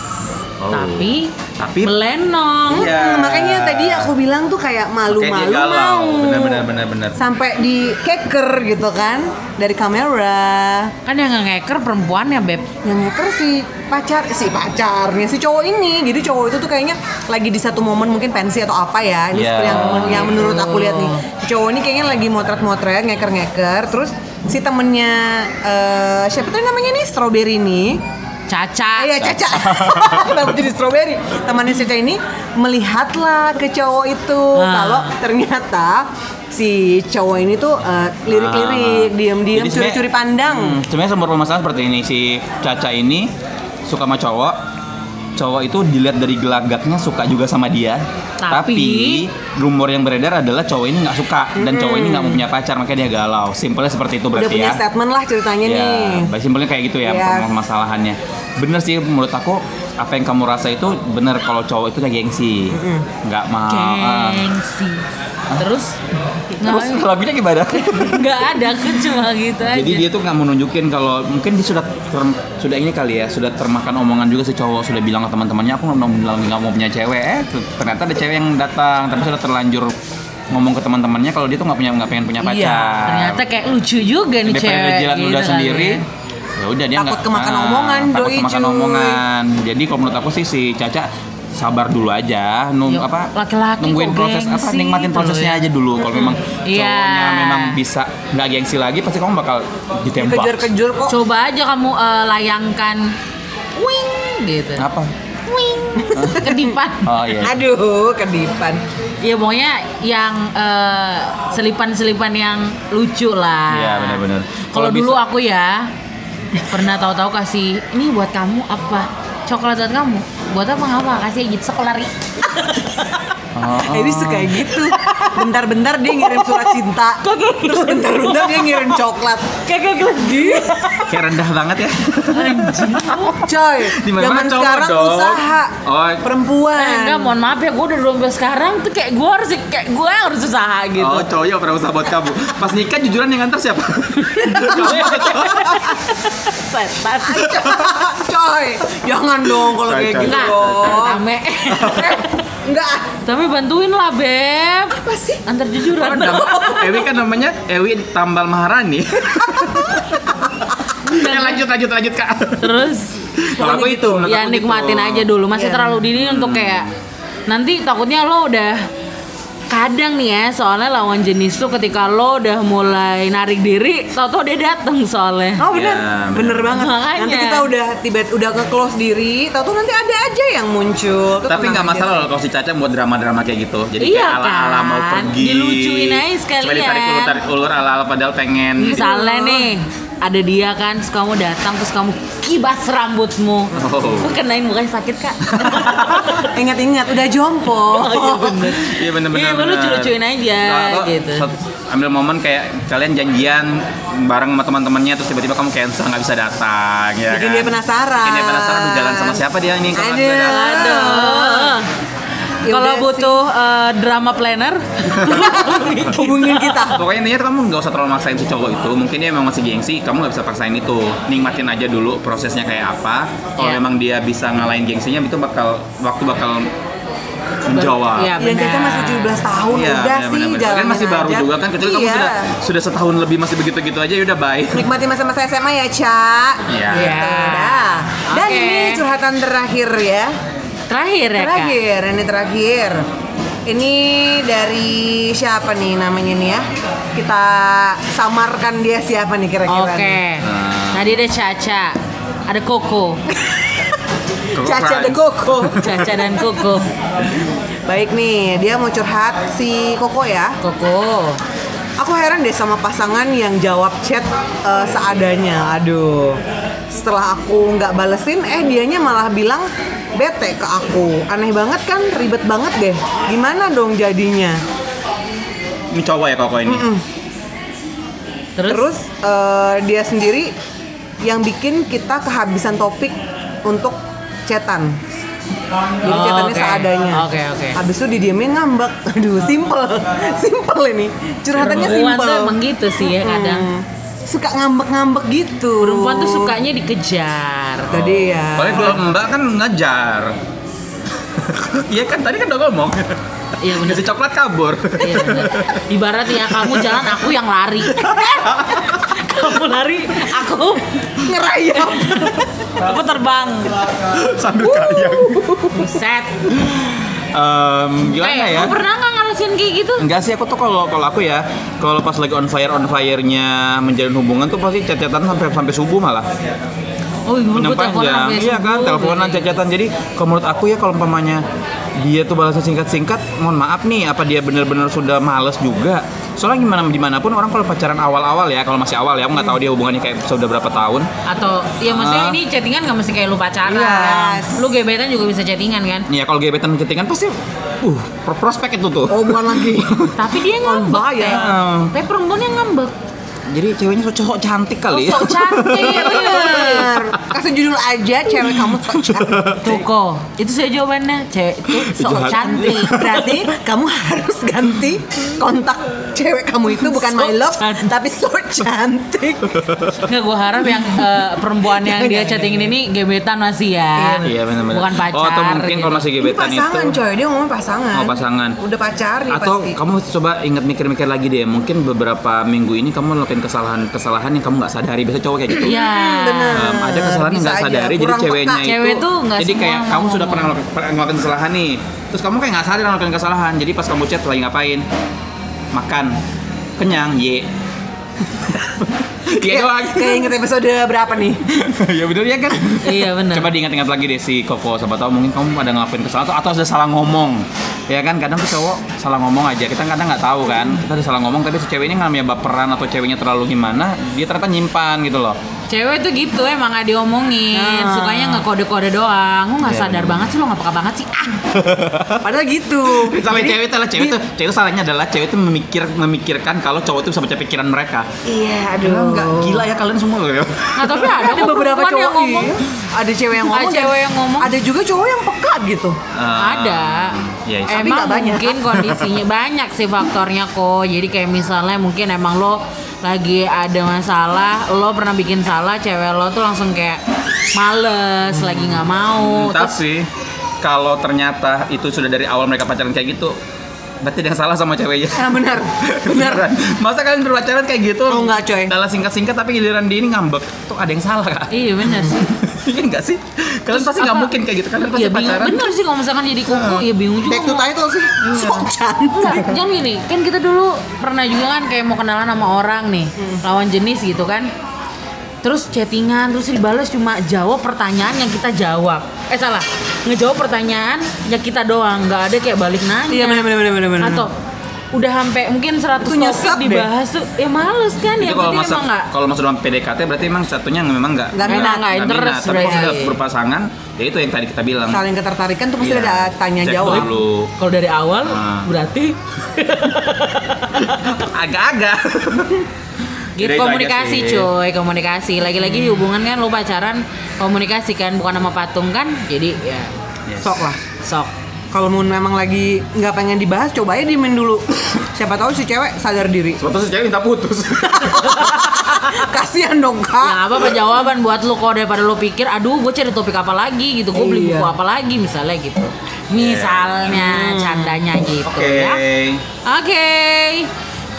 Speaker 2: Oh.
Speaker 3: Tapi,
Speaker 2: Tapi-
Speaker 3: melenong.
Speaker 2: Iya.
Speaker 1: Hmm, makanya tadi aku bilang tuh kayak
Speaker 2: Makanya
Speaker 1: malu-malu
Speaker 2: dia galau.
Speaker 1: mau.
Speaker 2: Benar, benar, benar, benar.
Speaker 1: Sampai di keker gitu kan dari kamera.
Speaker 2: Iya.
Speaker 3: Kan yang nge-hacker perempuan ya, Beb.
Speaker 1: Yang ngeker si pacar si pacarnya si cowok ini. Jadi cowok itu tuh kayaknya lagi di satu momen mungkin pensi atau apa ya. Ini
Speaker 2: Iya.
Speaker 1: seperti yang yang menurut aku lihat nih. Si cowok ini kayaknya lagi motret-motret, ngeker-ngeker terus si temennya eh, siapa tuh namanya nih strawberry nih
Speaker 2: Ah,
Speaker 3: Caca.
Speaker 1: Iya Caca. Kenapa jadi strawberry? Temannya Caca ini melihatlah ke cowok itu
Speaker 3: Ah.
Speaker 1: kalau ternyata si cowok ini tuh eh, lirik-lirik, diam-diam,
Speaker 2: Ah. Jadi sebenarnya-
Speaker 1: curi-curi pandang.
Speaker 2: Hmm, sebenarnya sumber permasalahan seperti ini si Caca ini suka sama cowok. Cowok itu dilihat dari gelagaknya suka juga sama dia.
Speaker 3: Tapi-
Speaker 2: Tapi, rumor yang beredar adalah cowok ini nggak suka dan cowok ini nggak mau punya pacar makanya dia galau. Simpelnya seperti itu
Speaker 1: Udah
Speaker 2: berarti
Speaker 1: punya
Speaker 2: ya.
Speaker 1: statement lah ceritanya
Speaker 2: Ya,
Speaker 1: nih.
Speaker 2: bah- simpelnya kayak gitu ya
Speaker 1: Yes.
Speaker 2: permasalahannya. Bener sih menurut aku apa yang kamu rasa itu bener kalau cowok itu kayak gengsi, nggak mau. ah.
Speaker 3: Gengsi. Terus,
Speaker 2: Terus
Speaker 3: nggak-
Speaker 2: lagunya gimana?
Speaker 3: nggak ada, aku cuma gitu aja.
Speaker 2: Jadi dia tuh nggak mau nunjukin kalau mungkin dia sudah ter- sudah ini kali ya sudah termakan omongan juga si cowok sudah bilang ke teman-temannya aku nggak mau nggak mau punya cewek eh tuh, ternyata ada cewek yang datang tapi sudah terlanjur ngomong ke teman-temannya kalau dia tuh nggak punya nggak pengen punya pacar.
Speaker 3: Iya, ternyata kayak lucu juga nih
Speaker 2: dia pengen
Speaker 3: cewek.
Speaker 2: ngejilat
Speaker 3: gitu
Speaker 2: ludah
Speaker 3: kali
Speaker 2: sendiri.
Speaker 3: ya.
Speaker 2: Ya udah dia
Speaker 1: Takut
Speaker 2: nggak-
Speaker 1: kemakan
Speaker 2: ah,
Speaker 1: omongan,
Speaker 2: takut
Speaker 1: doi
Speaker 2: kemakan
Speaker 1: cuy.
Speaker 2: omongan. Jadi kalau menurut aku sih si Caca sabar dulu aja nung
Speaker 3: Yuk,
Speaker 2: apa
Speaker 3: laki-laki
Speaker 2: nungguin
Speaker 3: kok
Speaker 2: proses apa
Speaker 3: gengsi
Speaker 2: nikmatin
Speaker 3: terus
Speaker 2: prosesnya
Speaker 3: ya.
Speaker 2: aja dulu kalau memang
Speaker 3: Iya.
Speaker 2: cowoknya memang bisa nggak gengsi lagi pasti kamu bakal ditembak
Speaker 1: Kejar-kejar kok.
Speaker 3: Coba aja kamu eh, layangkan wing gitu.
Speaker 2: apa
Speaker 3: Wing. Kedipan.
Speaker 2: oh iya
Speaker 1: Aduh, kedipan.
Speaker 3: Ya pokoknya yang eh, selipan-selipan yang lucu lah.
Speaker 2: Iya, benar-benar. Kalau
Speaker 3: Kalau dulu
Speaker 2: bisa-
Speaker 3: aku ya pernah tahu-tahu kasih ini buat kamu apa? Coklat buat kamu. Buat apa ngapa? Kasih gitu sekolari.
Speaker 2: Oh, oh.
Speaker 1: Ebi suka gitu. Bentar-bentar dia ngirim surat cinta. Terus bentar-bentar dia ngirim coklat. Iya,
Speaker 3: Kagak lagi.
Speaker 2: kayak rendah banget ya
Speaker 1: Coy,
Speaker 2: Di
Speaker 1: zaman
Speaker 2: mana-mana cowok
Speaker 1: sekarang
Speaker 2: dong.
Speaker 1: usaha
Speaker 2: Oh.
Speaker 1: perempuan.
Speaker 3: Eh, enggak, mohon maaf ya, gue udah dompet sekarang tuh kayak gue harus kayak gue yang harus usaha gitu.
Speaker 2: oh cowoknya pernah usaha buat kamu pas nikah jujuran yang nganter siapa
Speaker 3: Setan.
Speaker 1: Coy, jangan dong kalau
Speaker 2: Coy,
Speaker 1: kayak
Speaker 2: coy,
Speaker 1: gitu
Speaker 3: Enggak.
Speaker 1: dong. Eh,
Speaker 3: Rame.
Speaker 1: Enggak.
Speaker 3: Tapi bantuin lah, Beb.
Speaker 1: Apa sih?
Speaker 3: Antar jujuran.
Speaker 2: Ewi kan namanya Ewi Tambal Maharani Ya, lanjut lanjut lanjut kak
Speaker 3: Terus
Speaker 2: Kalau aku itu, menurut
Speaker 3: ya
Speaker 2: aku
Speaker 3: nikmatin
Speaker 2: gitu.
Speaker 3: aja dulu. Masih
Speaker 1: Iya.
Speaker 3: terlalu dini untuk kayak nanti takutnya lo udah kadang nih ya soalnya lawan jenis tuh ketika lo udah mulai narik diri tau-tau dia dateng soalnya
Speaker 1: Oh bener,
Speaker 2: Ya,
Speaker 1: bener,
Speaker 2: bener.
Speaker 1: banget.
Speaker 3: Makanya.
Speaker 1: Nanti kita udah tiba udah nge-close diri, tau tuh nanti ada aja yang muncul. Tuh
Speaker 2: tapi
Speaker 1: tenang
Speaker 2: nggak
Speaker 1: aja.
Speaker 2: masalah loh kalau si Caca buat drama-drama kayak gitu jadi
Speaker 3: Iya
Speaker 2: kayak ala-ala mau
Speaker 3: kan?
Speaker 2: pergi
Speaker 3: Dilucuin aja sekalian. Iya,
Speaker 2: Cuma ditarik ulur tarik ulur ala-ala padahal pengen
Speaker 1: gitu.
Speaker 3: misalnya nih ada dia kan terus kamu datang terus kamu kibas rambutmu
Speaker 2: Oh.
Speaker 3: Lu kenain mukanya sakit kak
Speaker 1: Ingat-ingat udah jompo.
Speaker 2: Iya bener-bener
Speaker 3: Iya, lu lucu-lucuin aja,
Speaker 2: Kalau
Speaker 3: gitu.
Speaker 2: sat- Ambil momen kayak kalian janjian bareng sama teman-temannya terus tiba-tiba kamu cancel nggak bisa datang ya
Speaker 1: Bikin
Speaker 2: kan?
Speaker 1: dia penasaran.
Speaker 2: Bikin dia penasaran "Aduh, jalan sama siapa dia ini kalau nggak
Speaker 1: Aduh.
Speaker 2: datang?"
Speaker 3: Aduh.
Speaker 1: Ya
Speaker 3: Eh, Kalau
Speaker 1: udah
Speaker 3: butuh eh, drama planner,
Speaker 1: Hubungin kita.
Speaker 2: Pokoknya intinya kamu nggak usah terlalu maksain si cowok itu. Mungkin dia memang masih gengsi, kamu nggak bisa paksain itu. Nikmatin aja dulu prosesnya kayak apa. Kalau
Speaker 3: Iya.
Speaker 2: memang dia bisa ngalahin gengsinya, itu bakal waktu bakal menjawab.
Speaker 3: Iya,
Speaker 1: Yang kita
Speaker 3: Benar.
Speaker 1: masih 17 tahun
Speaker 2: Iya,
Speaker 1: udah
Speaker 2: benar,
Speaker 1: sih
Speaker 2: benar, benar.
Speaker 1: jalan.
Speaker 2: Kan masih baru juga kan, kecuali kamu
Speaker 1: Iya.
Speaker 2: sudah sudah setahun lebih masih begitu-gitu aja, ya udah baik.
Speaker 1: Nikmati masa-masa SMA ya, Cak.
Speaker 2: Iya.
Speaker 1: Gitu, dah. Dan
Speaker 3: Oke.
Speaker 1: ini curhatan terakhir ya.
Speaker 3: terakhir ya kak.
Speaker 1: Terakhir, ini terakhir. Ini dari siapa nih namanya nih ya? Kita samarkan dia siapa nih kira-kira?
Speaker 3: Oke.
Speaker 1: nih?
Speaker 2: Hmm.
Speaker 3: Tadi ada Caca, ada Koko,
Speaker 1: Caca
Speaker 2: Surprise.
Speaker 1: the Koko.
Speaker 3: Caca dan Koko,
Speaker 1: Baik nih, dia mau curhat si Koko ya.
Speaker 3: Koko.
Speaker 1: Aku heran deh sama pasangan yang jawab chat eh, seadanya. Aduh. Setelah aku nggak balesin, eh dianya malah bilang bete ke aku. Aneh banget kan, ribet banget deh. Gimana dong jadinya?
Speaker 2: Ini cowok ya koko ini.
Speaker 3: Terus?
Speaker 1: Terus eh, dia sendiri yang bikin kita kehabisan topik untuk cetan. Jadi
Speaker 3: Oh,
Speaker 1: cetannya
Speaker 3: oke.
Speaker 1: seadanya.
Speaker 3: Oke, oke.
Speaker 1: Habis itu didiemin ngambek. Aduh, simple. simple ini. Curhatannya
Speaker 3: Perempuan
Speaker 1: simple.
Speaker 3: tuh emang gitu sih ya kadang.
Speaker 1: Hmm. Suka ngambek-ngambek gitu.
Speaker 3: Perempuan tuh sukanya dikejar.
Speaker 1: Tadi ya.
Speaker 2: Paling kalau mbak kan ngejar. Iya kan tadi kan udah ngomong.
Speaker 3: Iya benar.
Speaker 2: Kasih coklat kabur.
Speaker 3: Iya, benar. Ibarat ya kamu jalan, aku yang lari. kamu lari, aku
Speaker 1: ngerayap.
Speaker 3: aku terbang.
Speaker 2: Sambil kayang.
Speaker 3: Buset.
Speaker 2: Em, gimana
Speaker 3: Eh,
Speaker 2: ya?
Speaker 3: kamu pernah nggak ngerasain kayak gitu?
Speaker 2: Enggak sih aku tuh kalau kalau aku ya kalau pas lagi on fire on fire-nya menjalin hubungan tuh pasti cacatan sampai sampai subuh malah.
Speaker 3: Oh, ibu
Speaker 2: Yang panjang. Iya kan, teleponan cacatan. Jadi kalau menurut aku ya kalau umpamanya dia tuh balasnya singkat-singkat, mohon maaf nih apa dia benar-benar sudah males juga. Soalnya gimana dimanapun orang kalau pacaran awal-awal ya, kalau masih awal ya, aku nggak tahu dia hubungannya kayak sudah berapa tahun.
Speaker 3: Atau ya maksudnya
Speaker 2: Ah.
Speaker 3: ini chattingan nggak mesti kayak lu pacaran.
Speaker 1: Yes.
Speaker 3: Lu gebetan juga bisa chattingan kan?
Speaker 2: Iya kalau gebetan chattingan pasti uh pro- prospek itu tuh.
Speaker 1: Oh, bukan lagi.
Speaker 3: Tapi dia ngambek.
Speaker 1: Bahaya.
Speaker 3: Teh.
Speaker 2: Ah.
Speaker 3: Tapi perempuan yang ngambek.
Speaker 2: Jadi ceweknya so- sok cantik kali.
Speaker 3: Oh, Sok cantik.
Speaker 1: Iya, Bener. Kasih judul aja cewek kamu sok cantik.
Speaker 3: Tuh kok, itu saya jawabannya. Cewek itu sok
Speaker 2: Jahat.
Speaker 3: cantik.
Speaker 1: Berarti kamu harus ganti kontak cewek kamu itu bukan my love,
Speaker 3: Cantik.
Speaker 1: tapi so cantik.
Speaker 3: Nggak, gue harap yang eh, perempuan yang dia chattingin ini gebetan masih ya.
Speaker 2: Iya benar-benar.
Speaker 3: Bukan
Speaker 2: Oh
Speaker 3: pacar.
Speaker 2: atau mungkin
Speaker 3: gitu.
Speaker 2: kalau masih
Speaker 1: Ini
Speaker 2: gebetan
Speaker 1: pasangan
Speaker 2: itu.
Speaker 1: coy, dia ngomong pasangan.
Speaker 2: Oh, pasangan.
Speaker 1: Udah pacar dia
Speaker 2: Atau
Speaker 1: Iya, pasti.
Speaker 2: kamu coba ingat mikir-mikir lagi deh, mungkin beberapa minggu ini kamu ngelakuin kesalahan-kesalahan yang kamu nggak sadari. Biasa cowok kayak gitu.
Speaker 3: Iya.
Speaker 1: bener.
Speaker 2: Um, ada kesalahan yang
Speaker 1: Bisa
Speaker 2: nggak
Speaker 1: aja,
Speaker 2: sadari, jadi
Speaker 1: kurang
Speaker 2: ceweknya
Speaker 1: peka.
Speaker 2: itu.
Speaker 3: Cewek tuh nggak
Speaker 2: jadi
Speaker 3: semua
Speaker 2: kayak
Speaker 3: mau
Speaker 2: kamu sudah
Speaker 3: ngomong.
Speaker 2: pernah ngelakuin, pernah ngelakuin kesalahan nih, terus kamu kayak nggak sadar ngelakuin kesalahan. Jadi pas kamu chat lagi ngapain? Makan, kenyang, ye. Iya
Speaker 1: Kayak-
Speaker 2: doang.
Speaker 1: Iya, Kayak inget episode berapa nih?
Speaker 2: ya bener ya kan?
Speaker 3: Iya benar.
Speaker 2: Coba diingat-ingat lagi deh si Koko, siapa tahu mungkin kamu ada ngelakuin kesalahan atau- atau ada salah ngomong. Ya kan kadang tuh cowok salah ngomong aja. Kita kadang nggak tahu kan. Kita ada salah ngomong tapi si cewek ini namanya baperan atau ceweknya terlalu gimana, dia ternyata nyimpan gitu loh.
Speaker 3: Cewek tuh gitu emang gak diomongin,
Speaker 1: Nah.
Speaker 3: sukanya ngekode-kode doang. Lu nggak
Speaker 2: Iya,
Speaker 3: sadar
Speaker 2: bener.
Speaker 3: banget sih, lu nggak peka banget sih. Ah,
Speaker 1: Padahal gitu.
Speaker 2: Sampai
Speaker 1: Jadi-
Speaker 2: cewek itu lah cewek tuh, cewek tuh salahnya adalah cewek tuh memikir memikirkan kalau cowok itu bisa baca pikiran mereka.
Speaker 1: Iya, aduh.
Speaker 2: Enggak gila ya kalian semua loh ya.
Speaker 3: nggak tapi Iya, ada,
Speaker 1: Ada
Speaker 3: kok
Speaker 1: beberapa
Speaker 3: perempuan
Speaker 1: cowok
Speaker 3: yang ngomong.
Speaker 1: iya. Ada cewek yang
Speaker 3: Ada
Speaker 1: ngomong. dan
Speaker 3: cewek yang ngomong.
Speaker 1: Ada juga cowok yang peka gitu.
Speaker 3: Ada. Eh,
Speaker 2: Iya, iya.
Speaker 1: Tapi
Speaker 3: emang
Speaker 1: nggak banyak.
Speaker 3: mungkin kondisinya banyak sih faktornya kok. Jadi kayak misalnya mungkin emang lo lagi ada masalah, lo pernah bikin salah, cewek lo tuh langsung kayak males, lagi nggak mau. Terus
Speaker 2: Tapi kalau ternyata itu sudah dari awal mereka pacaran kayak gitu, berarti ada yang salah sama ceweknya.
Speaker 1: Nah, benar. Benar.
Speaker 2: Beneran. Masa kalian berpacaran kayak gitu?
Speaker 1: Oh, enggak, coy.
Speaker 2: Dalam singkat-singkat tapi giliran di ini ngambek. Tuh ada yang salah kak?
Speaker 3: Iya bener sih.
Speaker 2: Iya enggak sih? Kalian pasti nggak
Speaker 3: apa?
Speaker 2: mungkin kayak gitu. Kalian pasti
Speaker 3: Iya bingung.
Speaker 2: pacaran.
Speaker 3: Bener sih kalau misalkan jadi kuku, ya bingung juga.
Speaker 1: Back to
Speaker 3: mau-
Speaker 1: title sih. Sok
Speaker 3: Enggak,
Speaker 1: cantik.
Speaker 3: jangan gini. Kan kita dulu pernah juga kan kayak mau kenalan sama orang nih,
Speaker 1: Hmm.
Speaker 3: lawan jenis gitu kan. Terus chattingan, terus dibalas cuma jawab pertanyaan yang kita jawab. Eh salah, ngejawab pertanyaan yang kita doang, nggak ada kayak balik nanya.
Speaker 1: Iya, benar benar benar benar, benar.
Speaker 3: Atau udah sampai mungkin 100
Speaker 1: Itu nyesek
Speaker 3: topik
Speaker 1: deh.
Speaker 3: dibahas tuh, ya males kan ya
Speaker 2: Itu kalau
Speaker 3: berarti
Speaker 2: masuk
Speaker 3: emang nggak.
Speaker 2: kalau masuk dalam PDKT berarti emang satunya memang nggak
Speaker 1: Nggak minat,
Speaker 2: nggak
Speaker 3: nggak interest
Speaker 2: Tapi kalau
Speaker 3: berarti.
Speaker 2: sudah berpasangan, ya itu yang tadi kita bilang.
Speaker 1: saling ketertarikan tuh pasti
Speaker 2: Iya.
Speaker 1: ada tanya
Speaker 2: Cek
Speaker 1: jawab.
Speaker 2: dulu.
Speaker 3: Kalau dari awal
Speaker 2: Ah.
Speaker 3: berarti
Speaker 2: Agak-agak.
Speaker 3: gitu
Speaker 2: Jadi itu aja
Speaker 3: komunikasi
Speaker 2: sih. Hmm.
Speaker 3: coy, komunikasi. Lagi-lagi hubungan kan lu pacaran komunikasi kan bukan sama patung kan. Jadi ya
Speaker 2: Yes.
Speaker 1: Sok lah.
Speaker 3: sok.
Speaker 1: Kalau mau memang lagi nggak pengen dibahas, coba aja diemin dulu. Siapa tahu si cewek sadar diri.
Speaker 2: Sebab terus cewek minta putus.
Speaker 1: Kasihan dong
Speaker 3: Ya
Speaker 1: kak.
Speaker 3: apa apa jawaban buat lu kok daripada lu pikir aduh gue cari topik apa lagi gitu gue beli
Speaker 1: Iya. Hmm.
Speaker 3: buku apa lagi misalnya gitu misalnya candanya gitu
Speaker 2: Oke.
Speaker 3: ya oke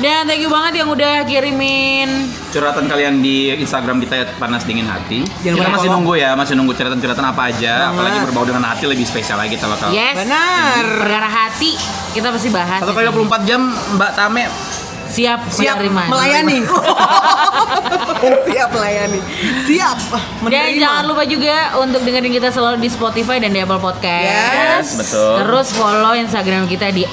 Speaker 3: dan thank you banget yang udah kirimin
Speaker 2: Curhatan kalian di Instagram kita ya, panas dingin hati.
Speaker 1: Jangan
Speaker 2: kita
Speaker 1: lupa
Speaker 2: masih
Speaker 1: follow.
Speaker 2: nunggu ya, masih nunggu curhatan-curhatan apa aja,
Speaker 1: Banget.
Speaker 2: apalagi berbau dengan hati lebih spesial lagi kita bakal.
Speaker 3: yes
Speaker 1: Oh. Benar.
Speaker 3: perkara hati kita pasti bahas ya,
Speaker 2: Satu kali 24 jam Mbak Tame
Speaker 3: siap
Speaker 1: Siap
Speaker 3: menerima.
Speaker 1: melayani. Siap melayani. Siap
Speaker 3: Dan
Speaker 1: menerima.
Speaker 3: jangan lupa juga untuk dengerin kita selalu di Spotify dan di Apple Podcast.
Speaker 2: Yes, betul.
Speaker 3: Terus follow Instagram kita di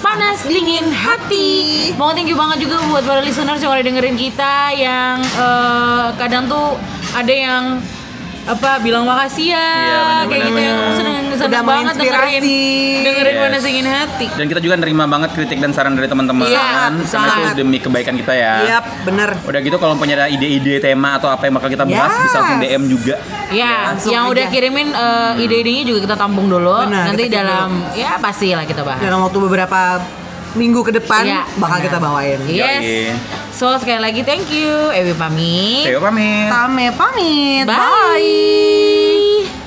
Speaker 3: @panasdinginhati. Mau thank you banget juga buat para listeners yang udah dengerin kita yang eh, kadang tuh ada yang apa bilang makasih ya,
Speaker 2: Iya, benar,
Speaker 3: kayak
Speaker 2: benar,
Speaker 3: gitu yang
Speaker 2: benar.
Speaker 3: seneng
Speaker 1: Udah
Speaker 3: seneng banget dengerin
Speaker 1: menginspirasi.
Speaker 3: dengerin
Speaker 2: Yes.
Speaker 3: Manasingin hati
Speaker 2: Dan kita juga nerima banget kritik dan saran dari teman-teman. Karena
Speaker 3: Iya,
Speaker 2: itu
Speaker 1: sangat.
Speaker 2: demi kebaikan kita ya.
Speaker 1: Yap, bener.
Speaker 2: Udah gitu kalau punya ada ide-ide tema atau apa yang bakal kita bahas
Speaker 1: Yes.
Speaker 2: bisa langsung DM juga.
Speaker 3: Ya,
Speaker 1: langsung
Speaker 3: yang
Speaker 1: aja.
Speaker 3: udah kirimin eh,
Speaker 2: Hmm.
Speaker 3: ide-idenya juga kita tampung dulu.
Speaker 1: Benar,
Speaker 3: Nanti
Speaker 1: kita
Speaker 3: dalam ya pastilah kita bahas.
Speaker 1: Dalam waktu beberapa minggu ke depan
Speaker 3: Iya,
Speaker 1: bakal
Speaker 3: benar.
Speaker 1: kita bawain.
Speaker 2: Yoi.
Speaker 3: Yes. So sekali lagi thank you Ewi pamit.
Speaker 2: Theo pamit.
Speaker 1: Tame pamit.
Speaker 3: Bye.